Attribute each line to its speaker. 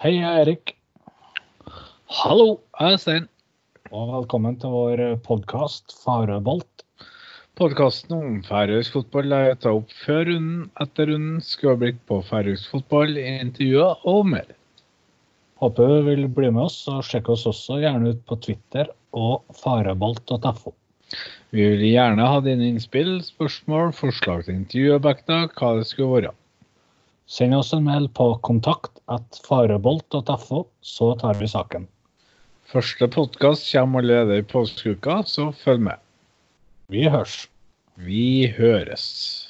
Speaker 1: Hei, jeg er Erik,
Speaker 2: Hallo, jeg er Stein.
Speaker 1: og velkommen til vår podkast Farøbolt.
Speaker 2: Podkasten om færøysk fotball er tatt opp før runden, etter runden, skueblikk på færøysk fotball, intervjuer og mer.
Speaker 1: Håper du vil bli med oss, og sjekk oss også gjerne ut på Twitter og farøbolt.fo.
Speaker 2: Vi vil gjerne ha dine innspill, spørsmål, forslag til intervjuobjekter, hva det skulle være.
Speaker 1: Send oss en mail på kontakt at farøbolt.fo, så tar vi saken.
Speaker 2: Første podkast kommer allerede i påskeuka, så følg med.
Speaker 1: Vi hørs.
Speaker 2: Vi høres.